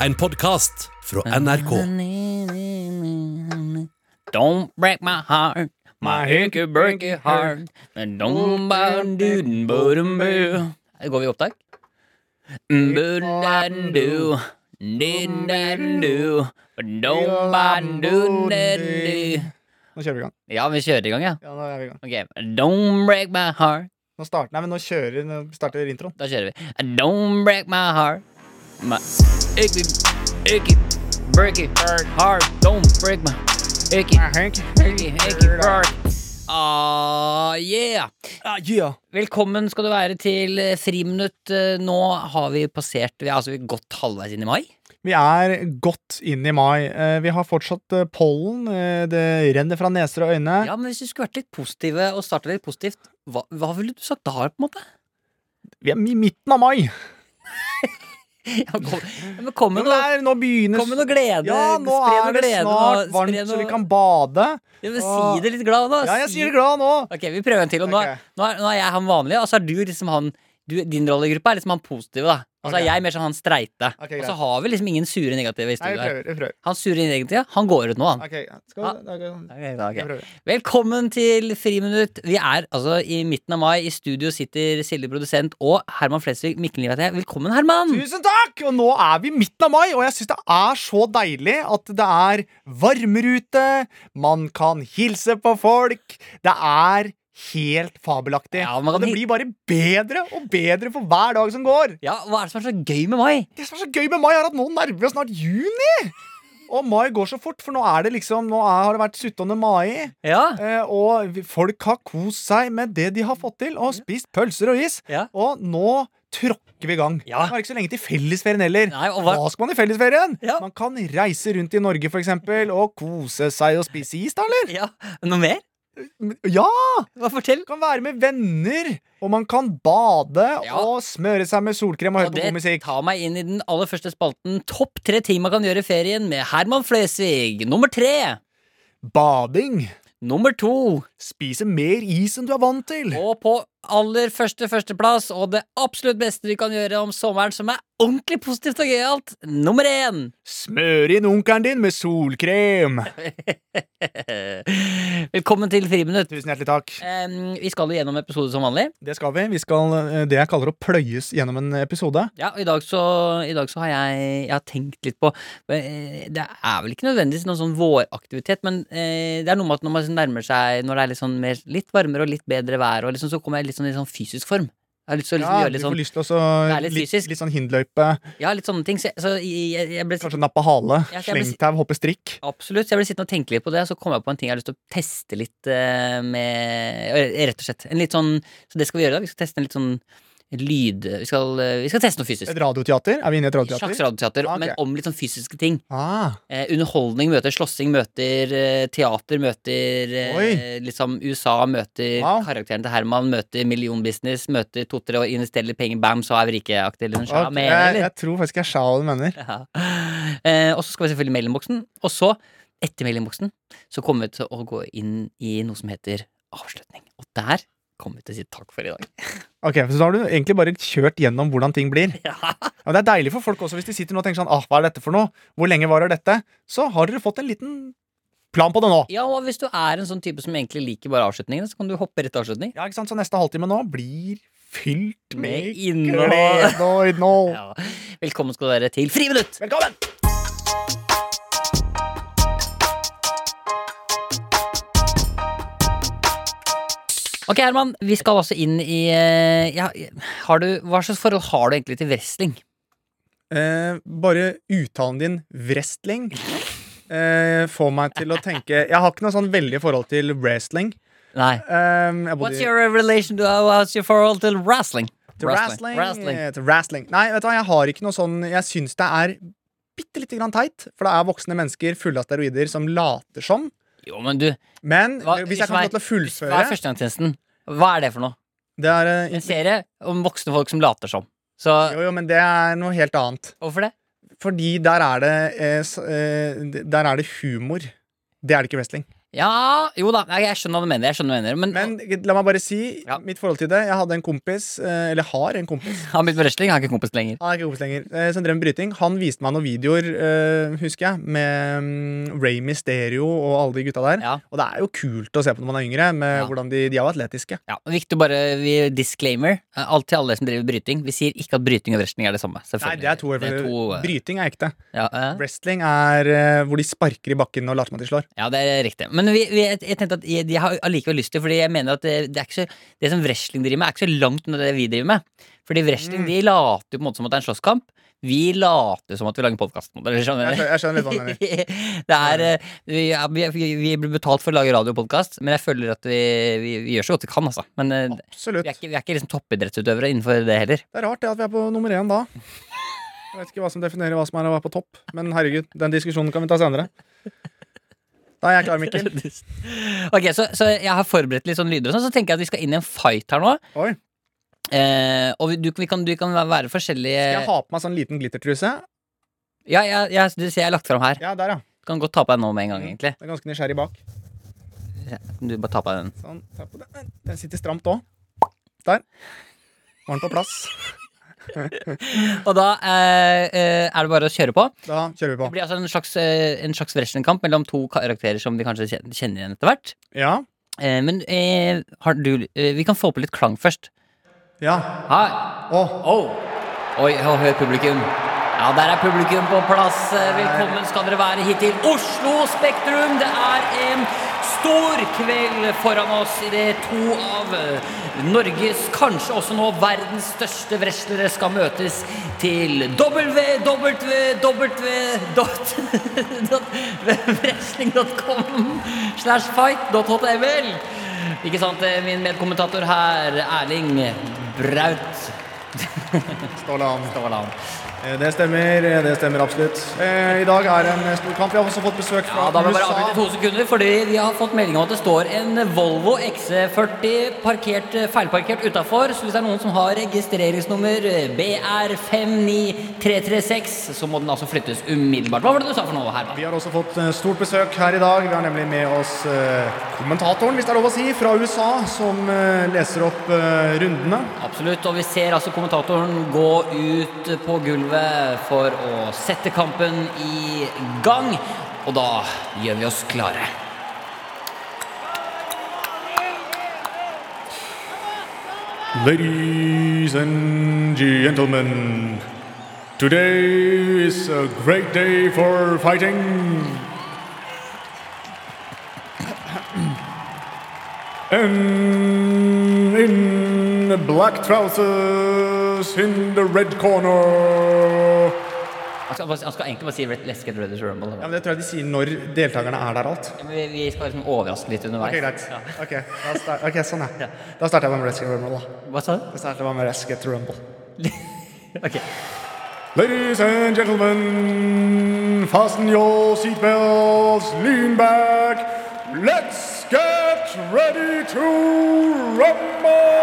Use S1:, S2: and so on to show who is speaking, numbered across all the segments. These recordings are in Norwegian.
S1: En podkast fra NRK.
S2: Don't break my heart. My hickory breaky heart. And don't buy duden budum boo. Går vi i opptak? Mm, Budadadu. Didadadu. Don't buy dudadu.
S3: Nå kjører vi i gang.
S2: Ja, vi kjører i gang, ja.
S3: Ja, nå er vi i gang.
S2: Ok, Don't break my heart.
S3: Nå starter, nei, men nå kjører, nå starter introen.
S2: Da kjører vi. Don't break my heart. My icky, icky, breaky heart. heart. Don't break my icky,
S3: Ah,
S2: icky, icky heart. Ah, yeah!
S3: Ah, yeah.
S2: Velkommen skal du være til eh, Friminutt. Eh, Nå har vi passert Vi er altså godt halvveis inn i mai.
S3: Vi er godt inn i mai. Eh, Vi har fortsatt eh, pollen. eh, Det renner fra neser og øyne.
S2: Ja, men Hvis du skulle vært litt positive og starta litt positivt, hva, hva ville du sagt da? på en måte?
S3: Vi er i midten av mai.
S2: Ja, kom, ja, men kom
S3: Men
S2: med noe,
S3: der, nå begynner
S2: kom med noe glede.
S3: Ja, nå
S2: spre noe
S3: er det
S2: glede,
S3: snart
S2: og spre
S3: varmt,
S2: noe,
S3: så vi kan bade.
S2: ja, men, Si det litt glad, da.
S3: Ja, jeg
S2: Si-
S3: sier det glad nå.
S2: Ok, vi prøver en til. Og nå, er-
S3: Ok.
S2: nå, er, nå er jeg han vanlige, og så er du liksom han du, Din rolle i gruppa er liksom han positive, da. Og så
S3: Ok.
S2: er jeg mer sånn han streite. og
S3: Ok,
S2: så
S3: greit.
S2: har vi liksom ingen sure negative i
S3: Nei, vi
S2: studio her.
S3: prøver. Vi prøver.
S2: Han sure negative, han går ut nå, han.
S3: Ok, skal vi ok,
S2: Ok, da, ok.
S3: vi prøver.
S2: Velkommen til Friminutt. Vi er altså i midten av mai. I studio sitter Silje, produsent, og Herman Flesvig. Mikkel Liv heter jeg. Velkommen, Herman!
S3: Tusen takk! Og nå er vi i midten av mai, og jeg syns det er så deilig at det er varmere ute. Man kan hilse på folk. Det er helt fabelaktig.
S2: Ja, man
S3: og
S2: kan
S3: det
S2: hil-
S3: blir bare bedre og bedre for hver dag som går.
S2: Ja, Hva er det som er så gøy med mai?
S3: Det som er så gøy med mai, er at nå nærmer vi oss snart juni. Og mai går så fort, for nå er det liksom Nå er, har det vært 17. mai,
S2: Ja,
S3: eh, og vi- folk har kost seg med det de har fått til, og spist pølser og is.
S2: ja.
S3: Og nå tråkker vi i gang.
S2: Ja.
S3: Det er ikke så lenge til fellesferien heller.
S2: Nei, og hva,
S3: Hva skal man i fellesferien?
S2: Ja.
S3: Man kan reise rundt i Norge for eksempel, og kose seg og spise is, da, eller?
S2: ja. Noe mer?
S3: Ja!
S2: Hva Fortell.
S3: Man kan være med venner, og man kan bade
S2: Ja.
S3: og smøre seg med solkrem og høre
S2: Og
S3: på god
S2: det
S3: musikk.
S2: tar meg inn i den aller første spalten Topp tre ting man kan gjøre i ferien med Herman Flesvig. Nummer tre.
S3: Bading.
S2: Nummer to.
S3: Spise mer is enn du er vant til.
S2: Og på aller første førsteplass, og det absolutt beste du kan gjøre om sommeren, som er ordentlig positivt og gøyalt, nummer én.
S3: Smøre inn onkelen din med solkrem.
S2: Eh, Velkommen til Friminutt.
S3: Tusen hjertelig takk.
S2: Em, vi skal jo gjennom episode som vanlig.
S3: Det skal vi. Vi skal eh, det jeg kaller å pløyes gjennom en episode.
S2: Ja, og i dag så, i dag så har jeg, jeg har tenkt litt på eh, Det er vel ikke nødvendigvis noen sånn våraktivitet, men eh, det er noe med at når man liksom nærmer seg Når det er litt, sånn mer, litt varmere og litt bedre vær, og liksom, så kommer jeg litt sånn i sånn fysisk form. Jeg har lyst til å liksom
S3: Ja,
S2: gjøre
S3: du
S2: litt
S3: får
S2: sånn,
S3: lyst til å så
S2: Det er litt
S3: litt,
S2: fysisk.
S3: litt, sånn hinderløype,
S2: ja, litt sånne ting. Så jeg, så jeg, jeg, jeg ble
S3: kanskje nappe hale,
S2: Ja, så jeg blir-
S3: slengtau, hoppe strikk.
S2: Absolutt. så Jeg ble sittende og tenke litt på det, og så kom jeg på en ting jeg har lyst til å teste litt eh, med eh, Rett og slett. En litt sånn Så det skal vi gjøre i dag. Vi skal teste en litt sånn lyd... Vi skal, eh, vi skal teste noe fysisk.
S3: Et radioteater? Er vi inne i et
S2: Et slags radioteater,
S3: radioteater? Ah, ok.
S2: men om litt sånn fysiske ting.
S3: Ah,
S2: Eh, underholdning møter slåssing, møter eh, teater, møter eh,
S3: Oi.
S2: liksom USA, møter
S3: Wow.
S2: karakteren til Herman, møter millionbusiness, møter to-tre og investerer penger, bam, så er vi rike-aktig. Eller noe sånt.
S3: ok.
S2: Med,
S3: jeg,
S2: eller?
S3: jeg tror faktisk jeg sjal mener.
S2: Ja. Eh, og så skal vi selvfølgelig i mailinnboksen. Og så, etter mailinnboksen, så kommer vi til å gå inn i noe som heter avslutning. Og der kommer vi til å si takk for i dag.
S3: Ok, Så da har du egentlig bare kjørt gjennom hvordan ting blir.
S2: Ja.
S3: Ja, men det er deilig for folk også hvis de sitter nå og tenker sånn ah, hva er dette for noe? Hvor lenge varer dette? Så har dere fått en liten plan på det nå.
S2: ja, og hvis du er en sånn type som egentlig liker bare avslutningene, så kan du hoppe rett til avslutning.
S3: Ja, ikke sant? Så neste halvtime nå blir fylt med
S2: Med innhold.
S3: glede og innhold.
S2: Ja. Velkommen skal dere til Friminutt!
S3: Velkommen!
S2: Ok, Herman, vi skal altså inn i eh, ja, har du, Hva slags forhold har du egentlig til wrestling?
S3: Eh, bare uttalen din, wrestling, eh, får meg til å tenke Jeg har ikke noe sånn veldig forhold til wrestling.
S2: Nei.
S3: Eh, jeg bodde
S2: What's
S3: i-
S2: your relation to What's your forhold til wrestling?
S3: Til wrestling.
S2: Wrestling.
S3: eh, Til wrestling. Nei, vet du hva, jeg har ikke noe sånn Jeg syns det er bitte lite grann teit, for det er voksne mennesker fulle av steroider som later som.
S2: Jo, men du,
S3: Men
S2: Hva-
S3: hvis jeg kan
S2: hva
S3: få
S2: er-
S3: lov til å
S2: hva er
S3: fullføre
S2: førstegangstjenesten? Hva er det for noe?
S3: det er, eh,
S2: En serie om voksne folk som later som. Så
S3: jo, jo, men det er noe helt annet.
S2: hvorfor det?
S3: Fordi der er det eh, s- eh, Der er det humor. Det er det ikke i wrestling.
S2: Ja, jo da, nei, jeg skjønner hva du mener. Jeg skjønner hva du mener Men,
S3: Men la meg bare si
S2: Ja.
S3: mitt forhold til det. Jeg hadde en kompis, eh, eller har en kompis,
S2: han begynte med wrestling, han er ikke kompis lenger.
S3: han er ikke kompis lenger, eh, som drev med bryting. Han viste meg noen videoer, eh, husker jeg, med mm, Ray Mysterio og alle de gutta der.
S2: Ja.
S3: Og det er jo kult å se på når man er yngre, med
S2: Ja.
S3: hvordan de, de er jo atletiske.
S2: Ja, Viktig å bare vi, disclaimer. eh, Alt til alle som driver bryting. Vi sier ikke at bryting og wrestling er det samme.
S3: Nei,
S2: Selvfølgelig.
S3: det er to,
S2: eh,
S3: Bryting er ekte.
S2: ja, eh,
S3: Wrestling er eh, hvor de sparker i bakken og later som at de slår.
S2: ja, det er riktig. Men vi, vi, jeg jeg tenkte at jeg, jeg har allikevel lyst til, Fordi jeg mener at det, det er ikke så Det som wrestling driver med, er ikke så langt unna det vi driver med. Fordi wrestling
S3: Mm.
S2: de later jo på en måte som at det er en slåsskamp. Vi later som at vi lager podkast.
S3: Jeg skjønner, jeg skjønner litt hva du mener.
S2: det er eh, vi, ja, vi, vi vi blir betalt for å lage radio og podkast, men jeg føler at vi, vi, vi gjør så godt vi kan, altså. Men eh, vi
S3: Absolutt.
S2: er ikke, vi er ikke liksom toppidrettsutøvere innenfor det heller.
S3: Det er rart det at vi er på nummer én da. Jeg vet ikke hva som definerer hva som er å være på topp, men herregud, den diskusjonen kan vi ta senere. Da er jeg klar, Mikkel.
S2: ok, så, så jeg har forberedt litt sånn lyder og sånn, så tenker jeg at vi skal inn i en fight her nå.
S3: Oi.
S2: Eh, og vi, du, vi kan, du kan være forskjellige
S3: Skal jeg ha på meg sånn liten glittertruse?
S2: Ja, ja, ja du ser jeg har lagt fram her.
S3: Ja, der, ja.
S2: Du kan godt ta på deg nå med en gang, egentlig.
S3: Det er ganske nysgjerrig bak.
S2: Du bare ta på deg den.
S3: Sånn, ta på den. Den sitter stramt òg. Der. Var den på plass?
S2: Og da eh, eh, er det bare å kjøre på.
S3: Da kjører vi
S2: Det
S3: på.
S2: blir altså en slags, eh, en slags wrestlingkamp mellom to karakterer som de kanskje kjen- kjenner igjen etter hvert.
S3: Ja.
S2: Eh, men eh, har du eh, Vi kan få på litt klang først.
S3: Ja.
S2: Ha,
S3: Å,
S2: Oh. Oi, og hør publikum. Ja, der er publikum på plass. Eh, Velkommen skal dere være hit til Oslo Spektrum. Det er en stor kveld foran oss i det to av eh, Norges, kanskje også nå verdens største wrestlere skal møtes til www.wrestling.com slash fight.html. Ikke sant, eh, min medkommentator her, Erling Braut.
S3: Ståle Am.
S2: Ståland.
S3: Eh, Det stemmer. eh, Det stemmer absolutt. Eh, I dag er en eh, stor kamp. Vi har også fått besøk
S2: Ja,
S3: fra
S2: da må jeg bare avbryte i
S3: USA.
S2: to sekunder, fordi vi har fått melding om at det står en Volvo XC40 parkert, feilparkert utafor. Så hvis det er noen som har registreringsnummer eh, BR59336, så må den altså flyttes umiddelbart. Hva var det du sa for noe, Herman?
S3: Vi har også fått eh, stort besøk her i dag. Vi har nemlig med oss eh, kommentatoren, hvis det er lov å si, fra USA, som eh, leser opp eh, rundene.
S2: Absolutt, og vi ser altså kommentatoren gå ut på gulvet for å sette kampen i gang. Og da gjør vi oss klare.
S4: Ladies and gentlemen, today is a great day for fighting. And in black trousers, in the red corner,
S2: Han skal, han skal egentlig bare si Let's get ready to rumble.
S3: Ja, men Det tror jeg de sier når deltakerne er der alt.
S2: Men Vi, vi skal liksom overraske litt underveis.
S3: Ok, greit.
S2: Ja.
S3: Ok, da sta- ok, sånn ja. Da starter jeg bare med Rescue Rumble. da.
S2: Hva sa du?
S3: Da starter jeg bare med Rescue Rumble.
S2: Ok.
S4: ladies and gentlemen, fasten your seatbelts, lean back. Let's get ready to rumble!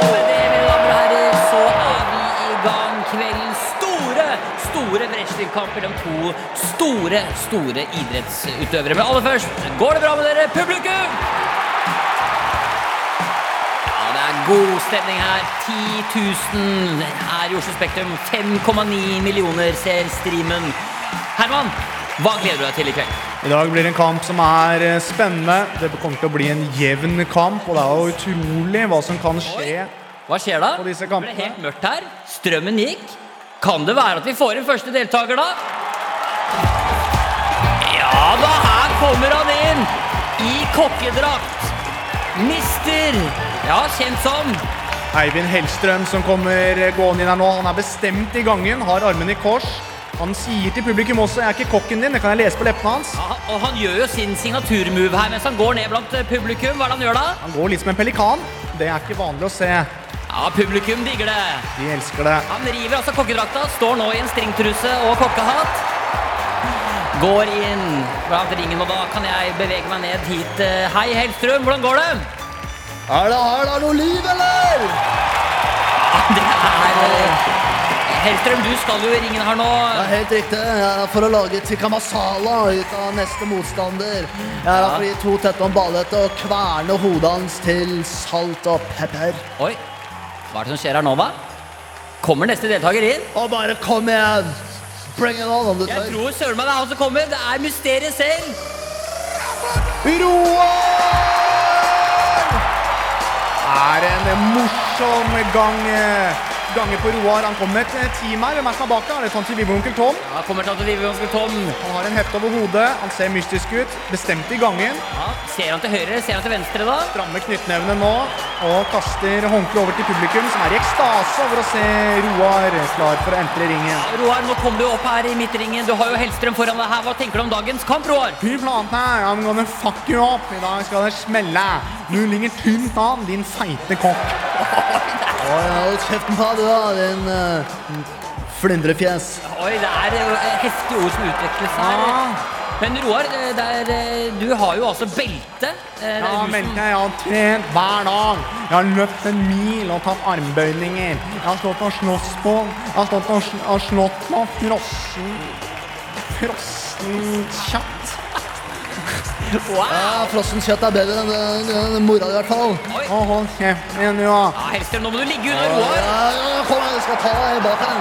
S2: Med det, mine damer og herrer, så er vi i gang kveldens store, store wrestlingkamp mellom to store, store idrettsutøvere. Men aller først, går det bra med dere, publikum? Ja, det er god stemning her. 10 000 er i Oslo Spektrum. 5,9 millioner ser streamen. Herman, hva gleder du deg til i kveld?
S3: I dag blir det en kamp som er eh, spennende. Det kommer til å bli en jevn kamp, og det er jo utrolig hva som kan skje.
S2: Hva skjer da?
S3: På disse
S2: Ble
S3: kampene.
S2: det helt mørkt her? Strømmen gikk. Kan det være at vi får en første deltaker, da? Ja da, her kommer han inn! I kokkedrakt. Mister Ja, kjent som
S3: Eivind Hellstrøm som kommer eh, gående inn her nå, han er bestemt i gangen, har armene i kors. Han sier til publikum også 'jeg er ikke kokken din', det kan jeg lese på leppene hans.
S2: ja, Og han gjør jo sin signaturmove her mens han går ned blant eh, publikum. Hva er det han gjør da?
S3: Han går litt som en pelikan. Det er ikke vanlig å se.
S2: Ja, publikum digger det.
S3: De elsker det.
S2: Han river altså kokkedrakta, står nå i en stringtruse og kokkehatt. Går inn blant ringen, og da kan jeg bevege meg ned hit. Eh, Hei, Hellstrøm, hvordan går det?
S3: Er det, er det noe liv, eller?
S2: Det er eh, Hellstrøm, du skal jo i ringen her nå.
S5: Ja, helt riktig. Jeg er for å lage tikamasala ut av neste motstander. Jeg er her for å gi to tette om ballete og kverne hodet hans til salt og pepper.
S2: Oi, hva er det som skjer her nå, hva? Kommer neste deltaker inn?
S5: Og bare kom igjen! Bring it on, om du
S2: Jeg
S5: tør.
S2: tror søren meg det er han som kommer. Det er mysteriet selv.
S3: er en morsom gang, eh, gange på Roar. Han kom med et eh, team her. Hvem er det som er bak deg? Er det Tante Vive og onkel Tom?
S2: Ja, kommer tante Vivi og onkel Tom.
S3: Han har en hette over hodet. Han ser mystisk ut. Bestemt i gangen.
S2: Ja, ser han til høyre? Ser han til venstre, da?
S3: Strammer knyttnevene nå og kaster håndkleet over til publikum, som er i ekstase over å se Roar klar for å entre ringen.
S2: Roar, nå kom du opp her i midtringen. Du har jo Hellstrøm foran deg her. Hva tenker du om dagens kamp, Roar?
S3: Fy flate, I'm gonna fuck you up. I dag skal det smelle. Du ligger tynt an, din feite kokk.
S5: Oi, hold kjeften på deg, du, da, din eh, flyndrefjes.
S2: Oi, det er eh, heftige ord som utveksles her.
S3: Ja,
S2: Men Roar, eh, det er, eh, du har jo altså belte. Eh, Det
S3: ja,
S2: er du
S3: men
S2: som
S3: jeg har trent hver dag. Jeg har løpt en mil og tatt armbøyninger. Jeg har stått og slåss på. Jeg har stått og, sl og slått på frossen. Frossen kjatt.
S2: Wow!
S5: Ja, Frossent kjøtt er bedre enn den- den mora di, i hvert fall.
S3: Og hold kjeften, du, da.
S2: Ja, Hellstrøm, nå må du ligge unna
S5: Ja,
S2: Roar.
S5: ja, kom igjen, jeg skal ta deg i baken.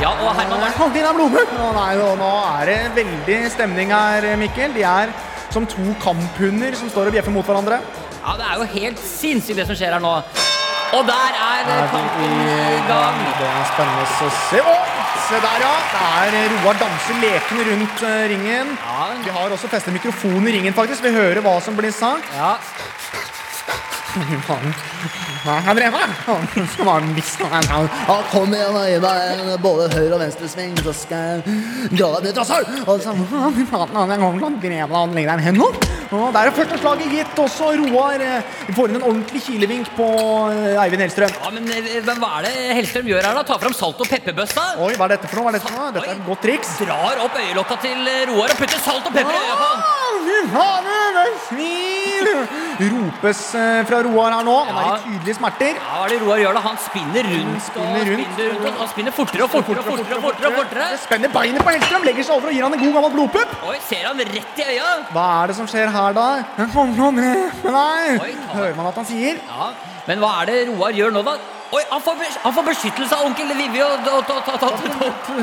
S2: Ja, og Herman
S3: Nei,
S2: Barth.
S3: hold dine blomer! Å, nei, nå- nå er det veldig stemning her, Mikkel. De er som to kamphunder som står og bjeffer mot hverandre.
S2: Ja, det er jo helt sinnssykt det som skjer her nå. Og der er eh, kampen i gang.
S3: Det er spennende å se. Å, se der, ja! Der Roar danser lekende rundt eh, ringen.
S2: Ja.
S3: Vi har også festet mikrofon i ringen, faktisk. Vi hører hva som blir sagt.
S2: Ja,
S3: Fy faen. Hva har jeg drevet med? Skal bare miste den her.
S5: Ja, kom igjen og gi meg en både høyre- og venstresving, så skal jeg dra deg ned i trassøl. Og så-
S3: Ja, Fy faen, han er gammel, han drev da, han legger deg en hen nå. Og der er første slaget gitt. Også Roar eh, får inn en ordentlig kilevink på eh, Eivind Hellstrøm.
S2: ja men eh, hva hva er det Hellstrøm gjør her da? Tar fram salt og pepperbøssa.
S3: Oi, hva er dette for noe? Hva er dette, for noe? dette er et godt triks.
S2: Drar opp øyelokka til eh, Roar og putter salt og pepper i øya på han.
S3: Fy fader, det svir! Ropes eh, fra Roar her nå. Han er
S2: Ja.
S3: i tydelige smerter.
S2: Ja, hva er det Roar gjør da? Han spinner rundt og
S3: Spinner rundt.
S2: spinner rundt. og Han spinner fortere og fortere og fortere og fortere. og fortere.
S3: Det Spenner beinet på Hellstrøm, legger seg over og gir han en god gammel blodpupp.
S2: Oi, ser han rett i øya?
S3: Hva er det som skjer her, da? Jeg kommer til å drepe deg!
S2: Oi, ta-
S3: Hører man at han sier?
S2: Ja, men hva er det Roar gjør nå da? Oi, han får, bes- han får beskyttelse av onkel Vivi og og- og- og- og- og- og-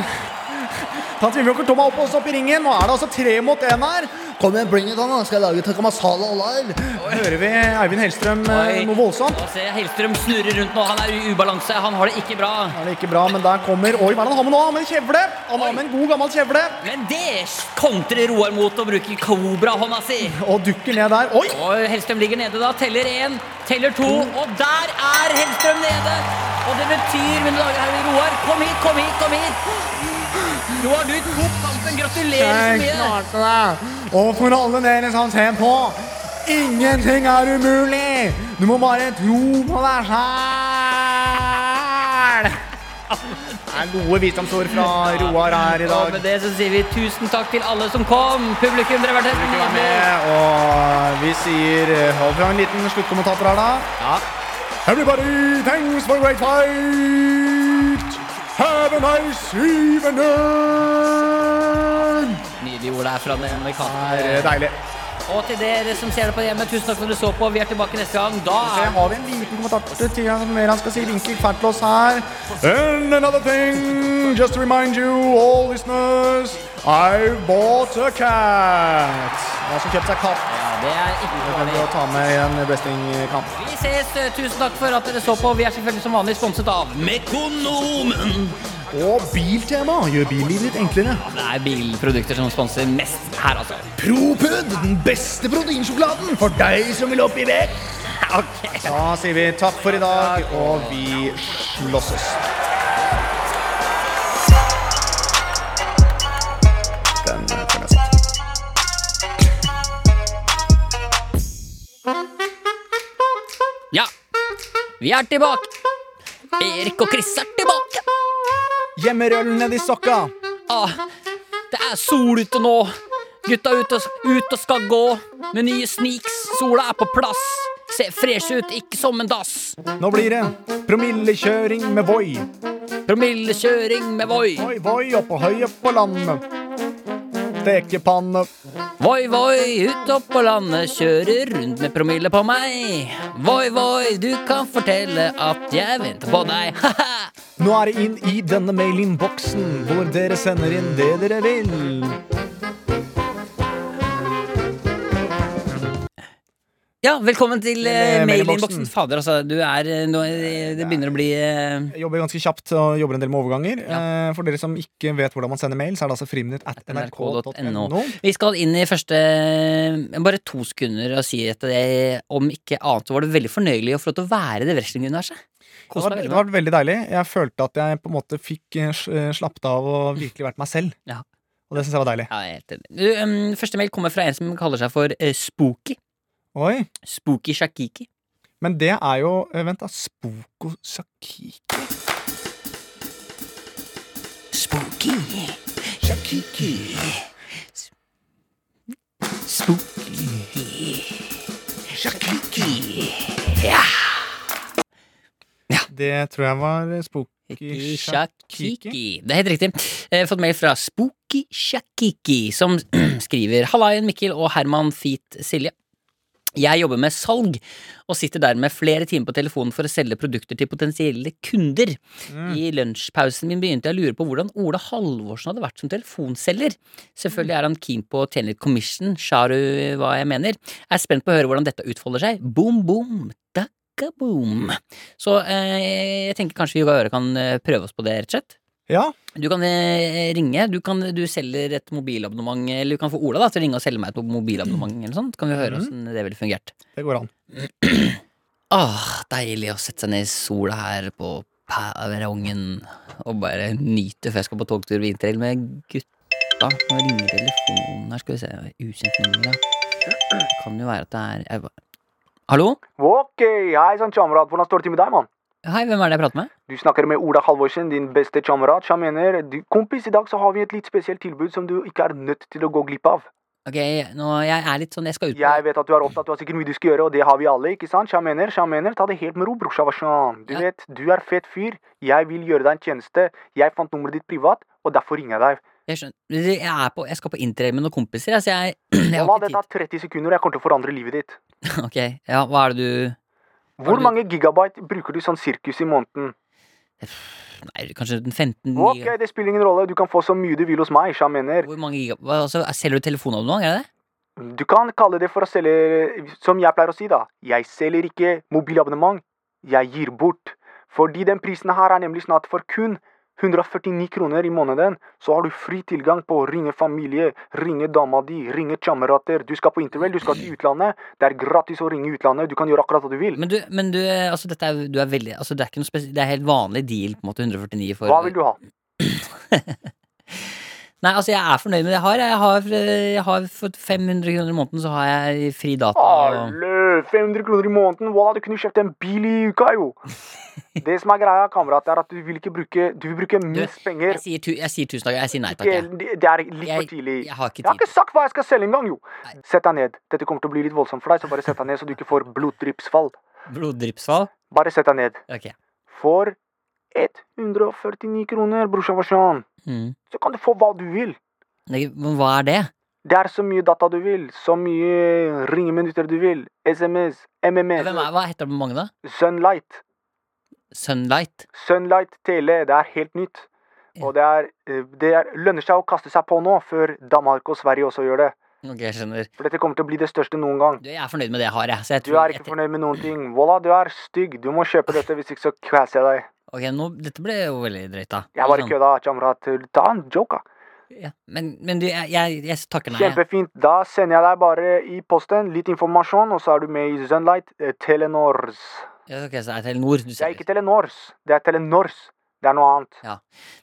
S3: Ta Tvillbjørn Tom opp oss opp i ringen. Nå er det altså tre mot én her.
S5: Kom igjen, bring it on, da skal jeg lage takamasala live.
S3: Hører vi Eivind Hellstrøm eh,
S2: Oi.
S3: noe voldsomt?
S2: Nå ser jeg Hellstrøm snurrer rundt nå. Han er i ubalanse. Han har det ikke bra.
S3: Det er det ikke bra, men der kommer Oi, hva er det han har med nå? Han har med en kjevle. Han
S2: Oi.
S3: har med en god gammel kjevle.
S2: Men det kontrer Roar mot å bruke cobra-hånda si.
S3: Og dukker ned der. Oi!
S2: Og Hellstrøm ligger nede da. Teller én, teller to, og der er Hellstrøm nede. Og det betyr, mine dager og herrer, Roar, kom hit, kom hit, kom hit. Roar, du tok kampen. Gratulerer så
S3: Jeg
S2: mye.
S3: klarte det. Og for alle dere som ser på, ingenting er umulig. Du må bare tro på deg sjæl. Det er gode visdomsord fra Roar her i
S2: Og
S3: dag.
S2: med det så sier vi tusen takk til alle som kom. Publikum, dere har vært helt
S3: Vi er med, Og vi sier eh, Hold fra en liten sluttkommentator her, da.
S4: Everybody, thanks for a great fight. Have a nice evening.
S2: Nydelige ord der fra den
S3: Det
S2: amerikanske
S3: er eh, deilig.
S2: Og til dere som ser det på hjemme, tusen takk for at dere så på. Vi er tilbake neste gang. Da
S3: Så
S2: er
S3: har vi en liten kommentator til han som mer han skal si. Vinkel Fertlås her.
S4: And another thing, just to remind you, all listeners, I bought a cat.
S3: Han som kjøpte seg katt.
S2: ja, det er ikke
S3: Det kan vi
S2: farlig.
S3: jo ta med i en wrestlingkamp.
S2: Vi ses. Tusen takk for at dere så på. Vi er selvfølgelig som vanlig sponset av Mekonomen.
S3: Og Biltema gjør bilen litt enklere.
S2: Det er bilprodukter som sponser mest her, altså.
S5: Propud, den beste proteinsjokoladen for deg som vil opp i vekt.
S3: Da sier vi takk for i dag, og vi slåsses. Den føler jeg satt.
S2: Ja, vi er tilbake. Erik og Chris er tilbake.
S3: Hjemmerøll ned i sokka.
S2: Ah, det er sol ute nå. Gutta er ute og, ut og skal gå med nye sneaks. Sola er på plass. Ser fresh ut, ikke som en dass.
S3: Nå blir det promillekjøring med Voi.
S2: Promillekjøring med Voi.
S3: Voi, voi, oppå høyet på landet. Stekepanne.
S2: Voi, voi, ut opp på landet, kjører rundt med promille på meg. Voi, voi, du kan fortelle at jeg venter på deg. Ha-ha!
S3: Nå er det inn i denne mailinnboksen, hvor dere sender inn det dere vil.
S2: Ja, velkommen til eh,
S3: Til, eh,
S2: mailinnboksen.
S3: mailinnboksen.
S2: Fader, altså. Du er eh, nå, eh, Det begynner å bli eh,
S3: Jeg jobber ganske kjapt og jobber en del med overganger. Eh, For dere som ikke vet hvordan man sender mail, så er det altså friminutt at nrk.no.
S2: nrk.no. Vi skal inn i første eh, Bare to sekunder og si at det, om ikke annet så var det veldig fornøyelig å få lov til å være i det wrestlinguniverset.
S3: Det
S2: Kos
S3: har
S2: deg
S3: vært-
S2: veldig
S3: det har
S2: bra.
S3: vært veldig deilig. Jeg følte at jeg på en måte fikk eh, sj- eh, slappet av og virkelig vært meg selv.
S2: Ja.
S3: Og det syns jeg var deilig.
S2: Ja, jeg er helt enig. Du, em, første mail kommer fra en som kaller seg for eh, Spooky.
S3: Oi.
S2: Spooky Shakiki.
S3: Men det er jo eh, Vent, da. Spoko Sakiki
S2: Spooky. Shakiki. Spooky. Shakiki.
S3: Det tror jeg var eh, Spooky
S2: Spooky
S3: Shakiki.
S2: Shakiki. Det er helt riktig. Jeg har fått mail fra Spooky Shakiki, som skriver Hallaien, Mikkel og Herman Feet Silje. Jeg jobber med salg, og sitter dermed flere timer på telefonen for å selge produkter til potensielle kunder. I lunsjpausen min begynte jeg å lure på hvordan Ola Halvorsen hadde vært som telefonselger. Selvfølgelig er han keen på å tjene litt commission, sa du hva jeg mener? Jeg er spent på å høre hvordan dette utfolder seg. Boom, boom, dakka boom. Så eh, jeg tenker kanskje vi og Øre kan eh, prøve oss på det, rett og slett.
S3: Ja.
S2: Du kan eh, ringe. Du, kan, du selger et mobilabonnement, eller du kan få Ola da, til å ringe og selge meg et mobilabonnement, eller sånt. Kan vi høre
S3: Mhm.
S2: åssen det ville fungert.
S3: Det går an.
S2: Ah, deilig å sette seg ned i sola her på perrongen og bare nyte før jeg skal på togtur vinterhell med gutta. Nå ringer telefonen her, skal vi se. Ukjent nummer, ja. Det kan jo være at det er jeg ba- Hallo?
S3: Ok, hei sann, kamerat. Hvordan står det til med deg, mann?
S2: Hei, hvem er det jeg prater med?
S3: Du snakker med Ola Halvorsen, din beste kamerat. Jeg mener, du, kompis, i dag så har vi et litt spesielt tilbud som du ikke er nødt til å gå glipp av.
S2: Ok, nå, jeg er litt sånn, jeg skal ut på
S3: Jeg vet at du er opptatt, du har sikkert mye du skal gjøre, og det har vi alle, ikke sant? Jeg mener, jeg mener, ta det helt med ro, brorsa, hva sånn? Du
S2: Ja.
S3: vet, du er fett fyr. Jeg vil gjøre deg en tjeneste. Jeg fant nummeret ditt privat, og derfor ringer jeg deg.
S2: Jeg skjønner. Jeg, er på, jeg skal på interrail med noen kompiser, altså jeg, jeg har
S3: Mamma,
S2: ikke
S3: det tar 30 sekunder, og jeg kommer til å forandre livet ditt.
S2: tid. Ok, ja, hva er det du Har
S3: Hvor
S2: du-
S3: mange gigabyte bruker du sånn sirkus i måneden?
S2: Nei, kanskje den 15
S3: Ok, det spiller ingen rolle, du kan få så mye du vil hos meg, jeg mener.
S2: Hvor mange giga... Hva, altså, selger du telefonabonnement, er det det?
S3: Du kan kalle det for å selge Som jeg pleier å si, da. Jeg selger ikke mobilabonnement. Jeg gir bort. Fordi den prisen her er nemlig snart for kun 149 kroner i måneden. Så har du fri tilgang på å ringe familie, ringe dama di, ringe kamerater. Du skal på intervall, du skal til utlandet. Det er gratis å ringe utlandet. Du kan gjøre akkurat hva du vil.
S2: Men du, men du, eh, altså dette er, du er veldig altså, det, er ikke noe spesi- det er helt vanlig deal, på en måte, 149 for
S3: Hva vil du ha?
S2: Nei, altså, jeg er fornøyd med det jeg har. Jeg har, eh, jeg har fått 500 kroner i måneden, så har jeg fri data. Og...
S3: Alle 500 kroner i måneden! Voilà, du kunne kjøpt en bil i uka, jo! Det som er greia, kamerat, er at du vil ikke bruke Du vil bruke minst penger
S2: Jeg sier, tu, jeg sier tusen takk. Jeg sier nei takk, jeg.
S3: Ikke- Det det er litt for
S2: Jeg,
S3: tidlig.
S2: jeg har ikke
S3: Jeg har
S2: tid.
S3: ikke sagt hva jeg skal selge engang, jo! Sett deg ned. Dette kommer til å bli litt voldsomt for deg, så bare sett deg ned så du ikke får bloddryppsfall.
S2: Bloddryppsfall?
S3: Bare sett deg ned.
S2: Ok.
S3: For 149 kroner, brorsan Vashan,
S2: Mm.
S3: så kan du få hva du vil.
S2: Nei, Men hva er det?
S3: Det er så mye data du vil, så mye ringeminutter du vil, SMS, MMS,
S2: Hvem er, hva heter abonnementet, da?
S3: Sunlight,
S2: Sunlight?
S3: Sunlight Tele, det er helt nytt. Og det, er, eh, det er, lønner seg å kaste seg på nå, før Danmark og Sverige også gjør det.
S2: Ok, jeg skjønner.
S3: For dette kommer til å bli det største noen gang.
S2: Du, jeg er fornøyd med det jeg har, jeg. Så jeg
S3: Du er ikke fornøyd med noen ting. Voila, du er stygg. Du må kjøpe dette, hvis ikke så kveser jeg deg.
S2: Ok, nå, Dette ble jo veldig drøyt, da.
S3: Jeg bare
S2: Sånn.
S3: kødda, Chamrat. Ta en joke, da.
S2: Ja. Men, men du, jeg, jeg, jeg takker nei. jeg.
S3: Kjempefint. Da sender jeg deg bare i posten litt informasjon, og så er du med i Sunlight eh, Telenors.
S2: Ja, Ok, så det er Telenor du
S3: Det er
S2: selger.
S3: ikke Telenors. Det er Telenors. Det er noe annet.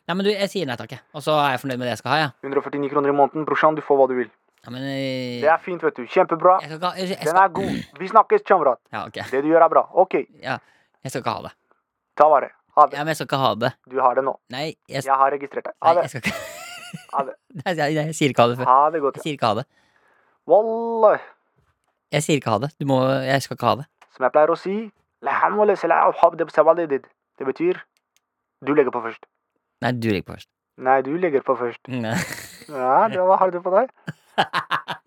S2: Nei, men du, jeg sier nei takk, jeg. Og så er jeg fornøyd med det jeg skal ha, jeg.
S3: 149 kroner i måneden. Brorsan, du får hva du vil.
S2: Ja, men eh,
S3: Det er fint, vet du. Kjempebra.
S2: Jeg skal ikke ha jeg, jeg
S3: Den
S2: skal,
S3: er god. Vi snakkes, Chamrat.
S2: Ja, ok.
S3: Det du gjør, er bra. OK,
S2: Ja, jeg skal ikke ha det.
S3: ta vare. Ha
S2: Ja,
S3: det.
S2: men jeg skal ikke ha det.
S3: Du har det nå.
S2: Nei, jeg,
S3: Jeg har registrert deg.
S2: nei,
S3: Ha det.
S2: jeg skal ikke
S3: Ha det.
S2: Nei, jeg, jeg, jeg sier ikke ha det før.
S3: Ha det godt.
S2: Jeg sier ikke ha det.
S3: Wallah.
S2: Jeg sier ikke ha det. Du må Jeg skal ikke ha det.
S3: Som jeg pleier å si «La hamle sala og habde bsawali did». Det betyr du legger på først.
S2: Nei, du ligger på først. Mm,
S3: Nei, du legger på først.
S2: Nei.
S3: Ja, det, hva har du på deg?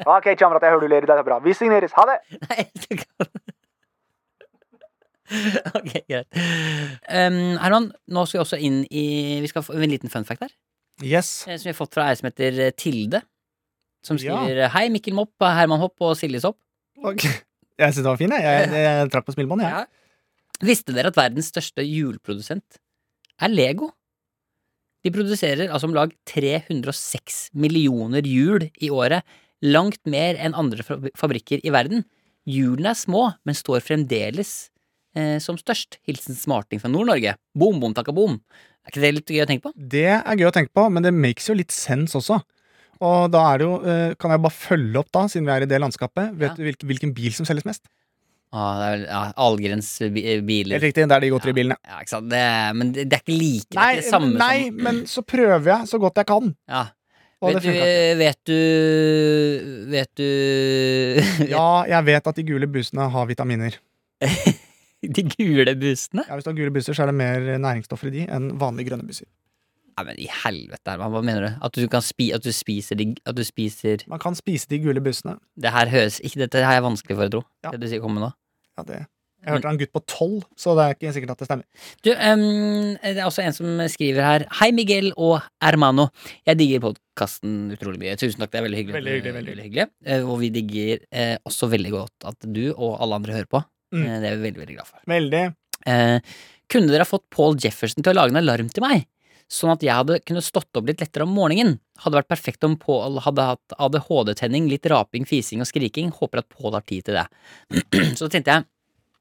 S3: OK, Chamrat, jeg hører du ler i dag. Det er bra. Vi signeres. Ha det!
S2: Nei, det kan Ok, greit. Um, Herman, nå skal vi også inn i Vi skal få en liten fun fact her.
S6: Yes.
S2: eh, Som vi har fått fra ei som heter eh, Tilde. Som
S6: Ja.
S2: skriver Hei, Mikkel Mopp, Herman Hopp og Silje Sopp.
S6: Ok. Jeg syns den var fin, jeg. Jeg, jeg, trakk på smilebåndet, jeg.
S2: Ja. Visste dere at verdens største hjulprodusent er Lego? De produserer altså om lag 306 millioner hjul i året, langt mer enn andre fabri- fabrikker i verden. Hjulene er små, men står fremdeles eh, som størst. Hilsen smarting fra Nord-Norge. Boom, boom, takka boom. Er ikke det litt gøy å tenke på?
S6: Det er gøy å tenke på, men det makes jo litt sense også. Og da er det jo, eh, kan jeg bare følge opp, da, siden vi er i det landskapet. Vet
S2: Ja.
S6: du hvilken, hvilken bil som selges mest?
S2: Ah, det er vel ja, Algrens bi- eh, biler.
S6: Helt riktig, det er de godteri bilene.
S2: Ja, ikke sant? Det, er- men det, det er ikke like. det
S6: Nei,
S2: er ikke det samme
S6: nei,
S2: som
S6: men så prøver jeg så godt jeg kan.
S2: ja.
S6: Og
S2: Vet
S6: det
S2: du,
S6: funka ikke.
S2: vet du Vet du
S6: Ja, jeg vet at de gule busene har vitaminer.
S2: De gule bussene?
S6: Ja, hvis du har gule busser, så er det mer næringsstoffer i de enn vanlige grønne busser.
S2: Nei, men i helvete, Herman, hva mener du? At du, kan spi, at du spiser de At du spiser
S6: Man kan spise de gule bussene.
S2: Det her høres ikke Dette her er vanskelig for å tro,
S6: Ja.
S2: det du sier kommer nå.
S6: Ja, det. Jeg hørte det er en gutt på tolv, så det er ikke sikkert at det stemmer.
S2: Du, em, det er også en som skriver her. Hei, Miguel og Hermano. Jeg digger podkasten utrolig mye. Tusen takk, det er veldig hyggelig. at
S6: Veldig
S2: du-
S6: hyggelig, veldig
S2: Eh, Og vi digger eh, også veldig godt at du og alle andre hører på.
S6: Mm.
S2: Eh, det er vi veldig, veldig glad for.
S6: Veldig.
S2: Eh, kunne dere ha fått Paul Jefferson til å lage en alarm til meg, sånn at jeg hadde kunnet stått opp litt lettere om morgenen? Hadde vært perfekt om Paul hadde hatt ADHD-tenning, litt raping, fising og skriking. Håper at Paul har tid til det. Så da tenkte jeg,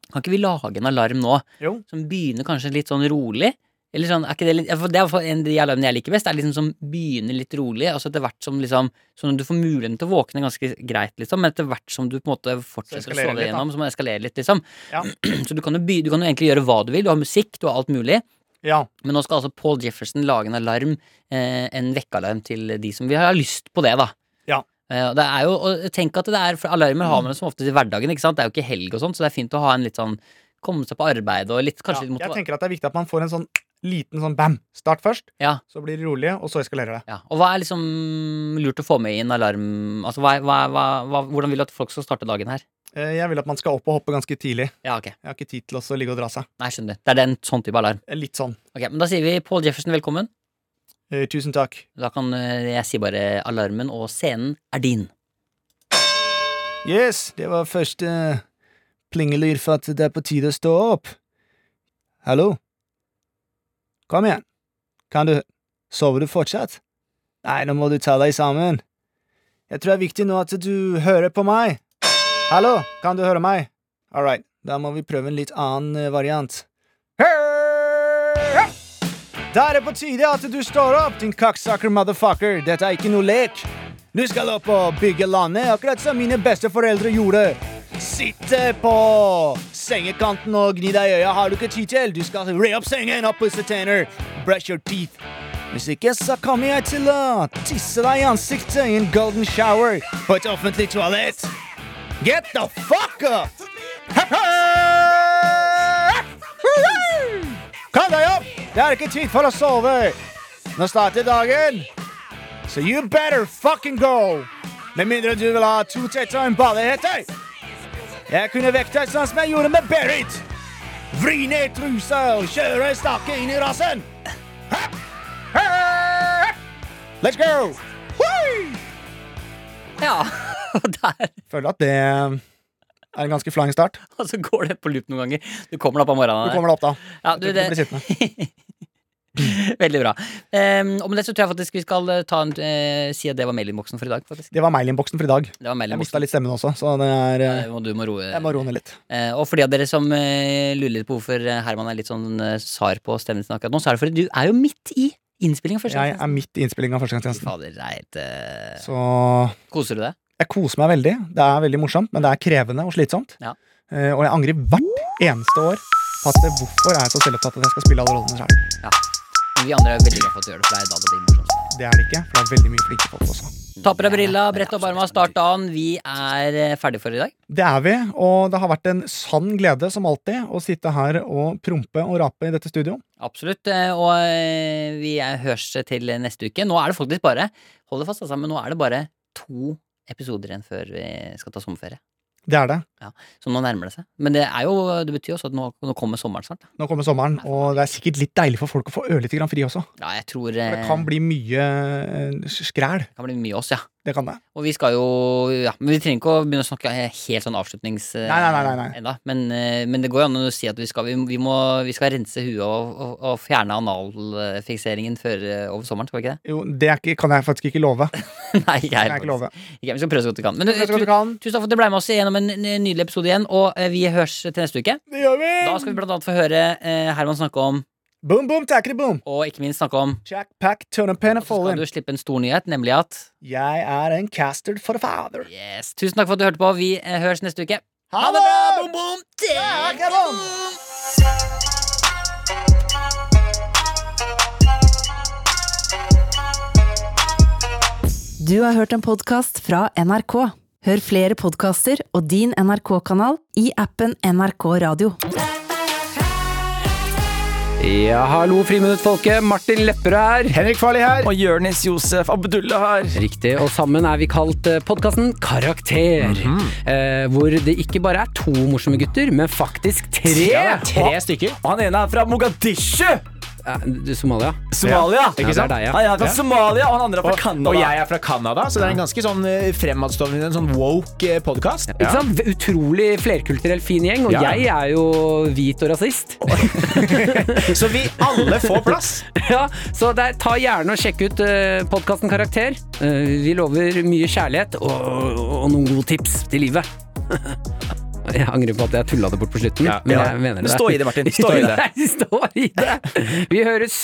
S2: kan ikke vi lage en alarm nå,
S6: Jo.
S2: som begynner kanskje litt sånn rolig? Eller sånn, er ikke det, litt, ja, for det er i hvert fall en av de alarmene jeg liker best, er liksom som begynner litt rolig, og så etter hvert som liksom, sånn at du får muligheten til å våkne ganske greit, liksom, men etter hvert som du på en måte fortsetter å
S6: eskalerer
S2: sove
S6: litt, da.
S2: gjennom, så må det eskalere litt, liksom.
S6: Ja.
S2: Så du kan, jo by, du kan jo egentlig gjøre hva du vil. Du har musikk, du har alt mulig.
S6: Ja.
S2: Men nå skal altså Paul Jefferson lage en alarm, eh, en vekkealarm til de som vil ha lyst på det, da.
S6: Ja.
S2: Eh, og det er jo, og tenk at det er, for Alarmer har man jo som oftest i hverdagen, ikke sant? det er jo ikke helg og sånt, så det er fint å ha en litt sånn komme seg på arbeid og litt, kanskje
S6: ja.
S2: litt
S6: Jeg
S2: motivasjon.
S6: tenker at det er viktig at man får en sånn liten sånn bam. Start først,
S2: Ja.
S6: så blir det rolig, og så eskalerer det.
S2: Ja. Og hva er liksom lurt å få med i en alarm? Altså, hva, er- hva, er- hva, hva, hvordan vil du at folk skal starte dagen her?
S6: Eh, Jeg vil at man skal opp og hoppe ganske tidlig.
S2: Ja, ok.
S6: Jeg har ikke tid til å så ligge og dra seg.
S2: Nei, skjønner. Det er den sånn type alarm.
S6: Eh, Litt sånn.
S2: Ok, Men da sier vi Paul Jefferson velkommen.
S6: Eh, Tusen takk.
S2: Da kan eh, jeg si bare alarmen, og scenen er din.
S6: Yes, det var første plingelyd for at det er på tide å stå opp. Hallo? Kom igjen. Kan du Sover du fortsatt? Nei, nå må du ta deg sammen. Jeg tror det er viktig nå at du hører på meg. Hallo, kan du høre meg? All right, da må vi prøve en litt annen eh, variant. Hei! Da er det på tide at du står opp, din cocksucker motherfucker. Dette er ikke noe lek. Du skal opp og bygge landet, akkurat som mine besteforeldre gjorde. Sitte på sengekanten og gni deg i øya har du ikke tid til. Du skal re opp sengen og pusse tenner. Brush your teeth. Hvis ikke, så kommer jeg til å tisse deg i ansiktet i en golden shower på et offentlig toalett. Get the fuck up! Kom deg opp! Det er ikke tid for å sove. Nå starter dagen. Så you better fucking go! Med mindre du vil ha to tetter og en badehetter. Jeg kunne vekt deg sånn som jeg gjorde med Berit. Vri ned trusa og kjøre staket inn i rassen. Hopp! Hopp! Let's go! Woo!
S2: Ja, og der
S6: Føler at det er en ganske flying start.
S2: Og så går det på loop noen ganger. Du kommer deg opp om morgenen.
S6: Du kommer deg opp, da.
S2: ja, du,
S6: Jeg tror ikke du
S2: Veldig bra. Um, og med det så tror jeg faktisk vi skal eh, ta en, eh, si at det var mailinnboksen for i dag. faktisk
S6: Det var mailinnboksen for i dag.
S2: Det var
S6: Jeg mista
S2: mailinnboksen.
S6: litt stemmen også, så det er eh,
S2: Eh, og Du må roe.
S6: Jeg må roe ned litt.
S2: Eh, og for de av dere som eh, lurer litt på hvorfor eh, Herman er litt sånn eh, sar på stemmen sin akkurat nå, så er det fordi du er jo midt i innspillingen først.
S6: Jeg er midt i innspillinga av Førstegangstjenesten.
S2: Fader, det er helt eh,
S6: Så
S2: Koser du deg?
S6: jeg koser meg veldig. Det er veldig morsomt, men det er krevende og slitsomt.
S2: Ja.
S6: Eh, Og jeg angrer hvert eneste år på at det, hvorfor er jeg så selvopptatt at jeg skal spille alle rollene sjøl.
S2: Men vi andre er veldig glad for at du gjør det, for det er da det blir morsomt.
S6: Det er det ikke, for det er veldig mye flinke folk også.
S2: Ta på deg brilla, brett opp arma, start dagen. Vi er eh, ferdig for i dag.
S6: Det er vi, og det har vært en sann glede, som alltid, å sitte her og prompe og rape i dette studio.
S2: Absolutt. eh, Og eh, vi eh, høres til neste uke. Nå er det faktisk bare Hold det fast, altså, men nå er det bare to episoder igjen før vi skal ta sommerferie.
S6: Det er det.
S2: Så nå nærmer det seg. Men det, er jo, det betyr jo også at nå, nå kommer sommeren snart. da.
S6: Nå kommer sommeren, og det er sikkert litt deilig for folk å få ørlite grann fri også.
S2: Ja, jeg tror
S6: For
S2: eh,
S6: det kan bli mye eh, skræl.
S2: det kan bli mye oss, ja.
S6: Det kan det.
S2: Og vi skal jo ja, Men vi trenger ikke å begynne å snakke he- helt sånn avslutnings... eh,
S6: Nei, nei, nei, nei, nei.
S2: Enda. Men, eh, men det går jo an å si at vi skal, vi, vi må, vi skal rense huet og, og, og fjerne analfikseringen før eh, over sommeren, skal vi ikke det?
S6: Jo, det er ikke, kan jeg faktisk ikke love. Det
S2: nei, ikke her.
S6: kan jeg ikke
S2: faktisk.
S6: love.
S2: Ikke, vi skal prøve så godt vi kan. Men eh,
S6: Vet du hva
S2: tu,
S6: du kan?
S2: tusen takk for at dere ble med oss gjennom en n- nydelig episode igjen, og eh, vi høres til neste uke.
S6: Det gjør vi!
S2: Da skal vi blant annet få høre eh, Herman snakke om,
S6: Boom, boom, tackety boom.
S2: og ikke minst snakke om
S6: Jack, pack, turn up, pen and
S2: Så
S6: fall
S2: skal
S6: in.
S2: du slippe en stor nyhet, nemlig at
S6: Jeg er en castard for a father.
S2: Yes. Tusen takk for at du hørte på. Vi eh, høres neste uke.
S6: Ha det bra!
S2: Bom, bom, tek,
S6: Tack, boom!
S7: Du har hørt en podkast fra NRK. Hør flere podkaster og din NRK-kanal i appen NRK Radio.
S8: Ja, hallo friminuttfolket. Martin Lepperød her.
S6: Henrik Farley her.
S9: Og Jørnis Josef Abdullah her.
S8: Riktig, og sammen er vi kalt eh, podkasten Karakter. eh, hvor det ikke bare er to morsomme gutter, men faktisk tre.
S9: Ja, det er tre
S8: stykker.
S9: Og han ene er fra Mogadishu!
S8: Eh, Somalia.
S9: Somalia.
S8: Ikke sant? Ja, det er deg, ja.
S9: Han ene er fra Somalia, og han andre er fra Canada.
S10: Og jeg er fra Canada, så det er en ganske sånn eh, fremadstormende, en sånn woke podkast.
S8: Ikke sant? Utrolig flerkulturell fin gjeng, og
S10: Ja.
S8: jeg er jo hvit og rasist.
S10: Så vi alle får plass.
S8: Ja, så der, ta gjerne og sjekk ut uh, podkasten Karakter. Eh, vi lover mye kjærlighet og, og noen gode tips til livet. Jeg angrer på at jeg tulla det bort på slutten,
S10: Ja,
S8: men
S10: ja.
S8: jeg mener det.
S9: Stå i det, Martin. Stå i det.
S8: Nei, stå i det. Vi høres.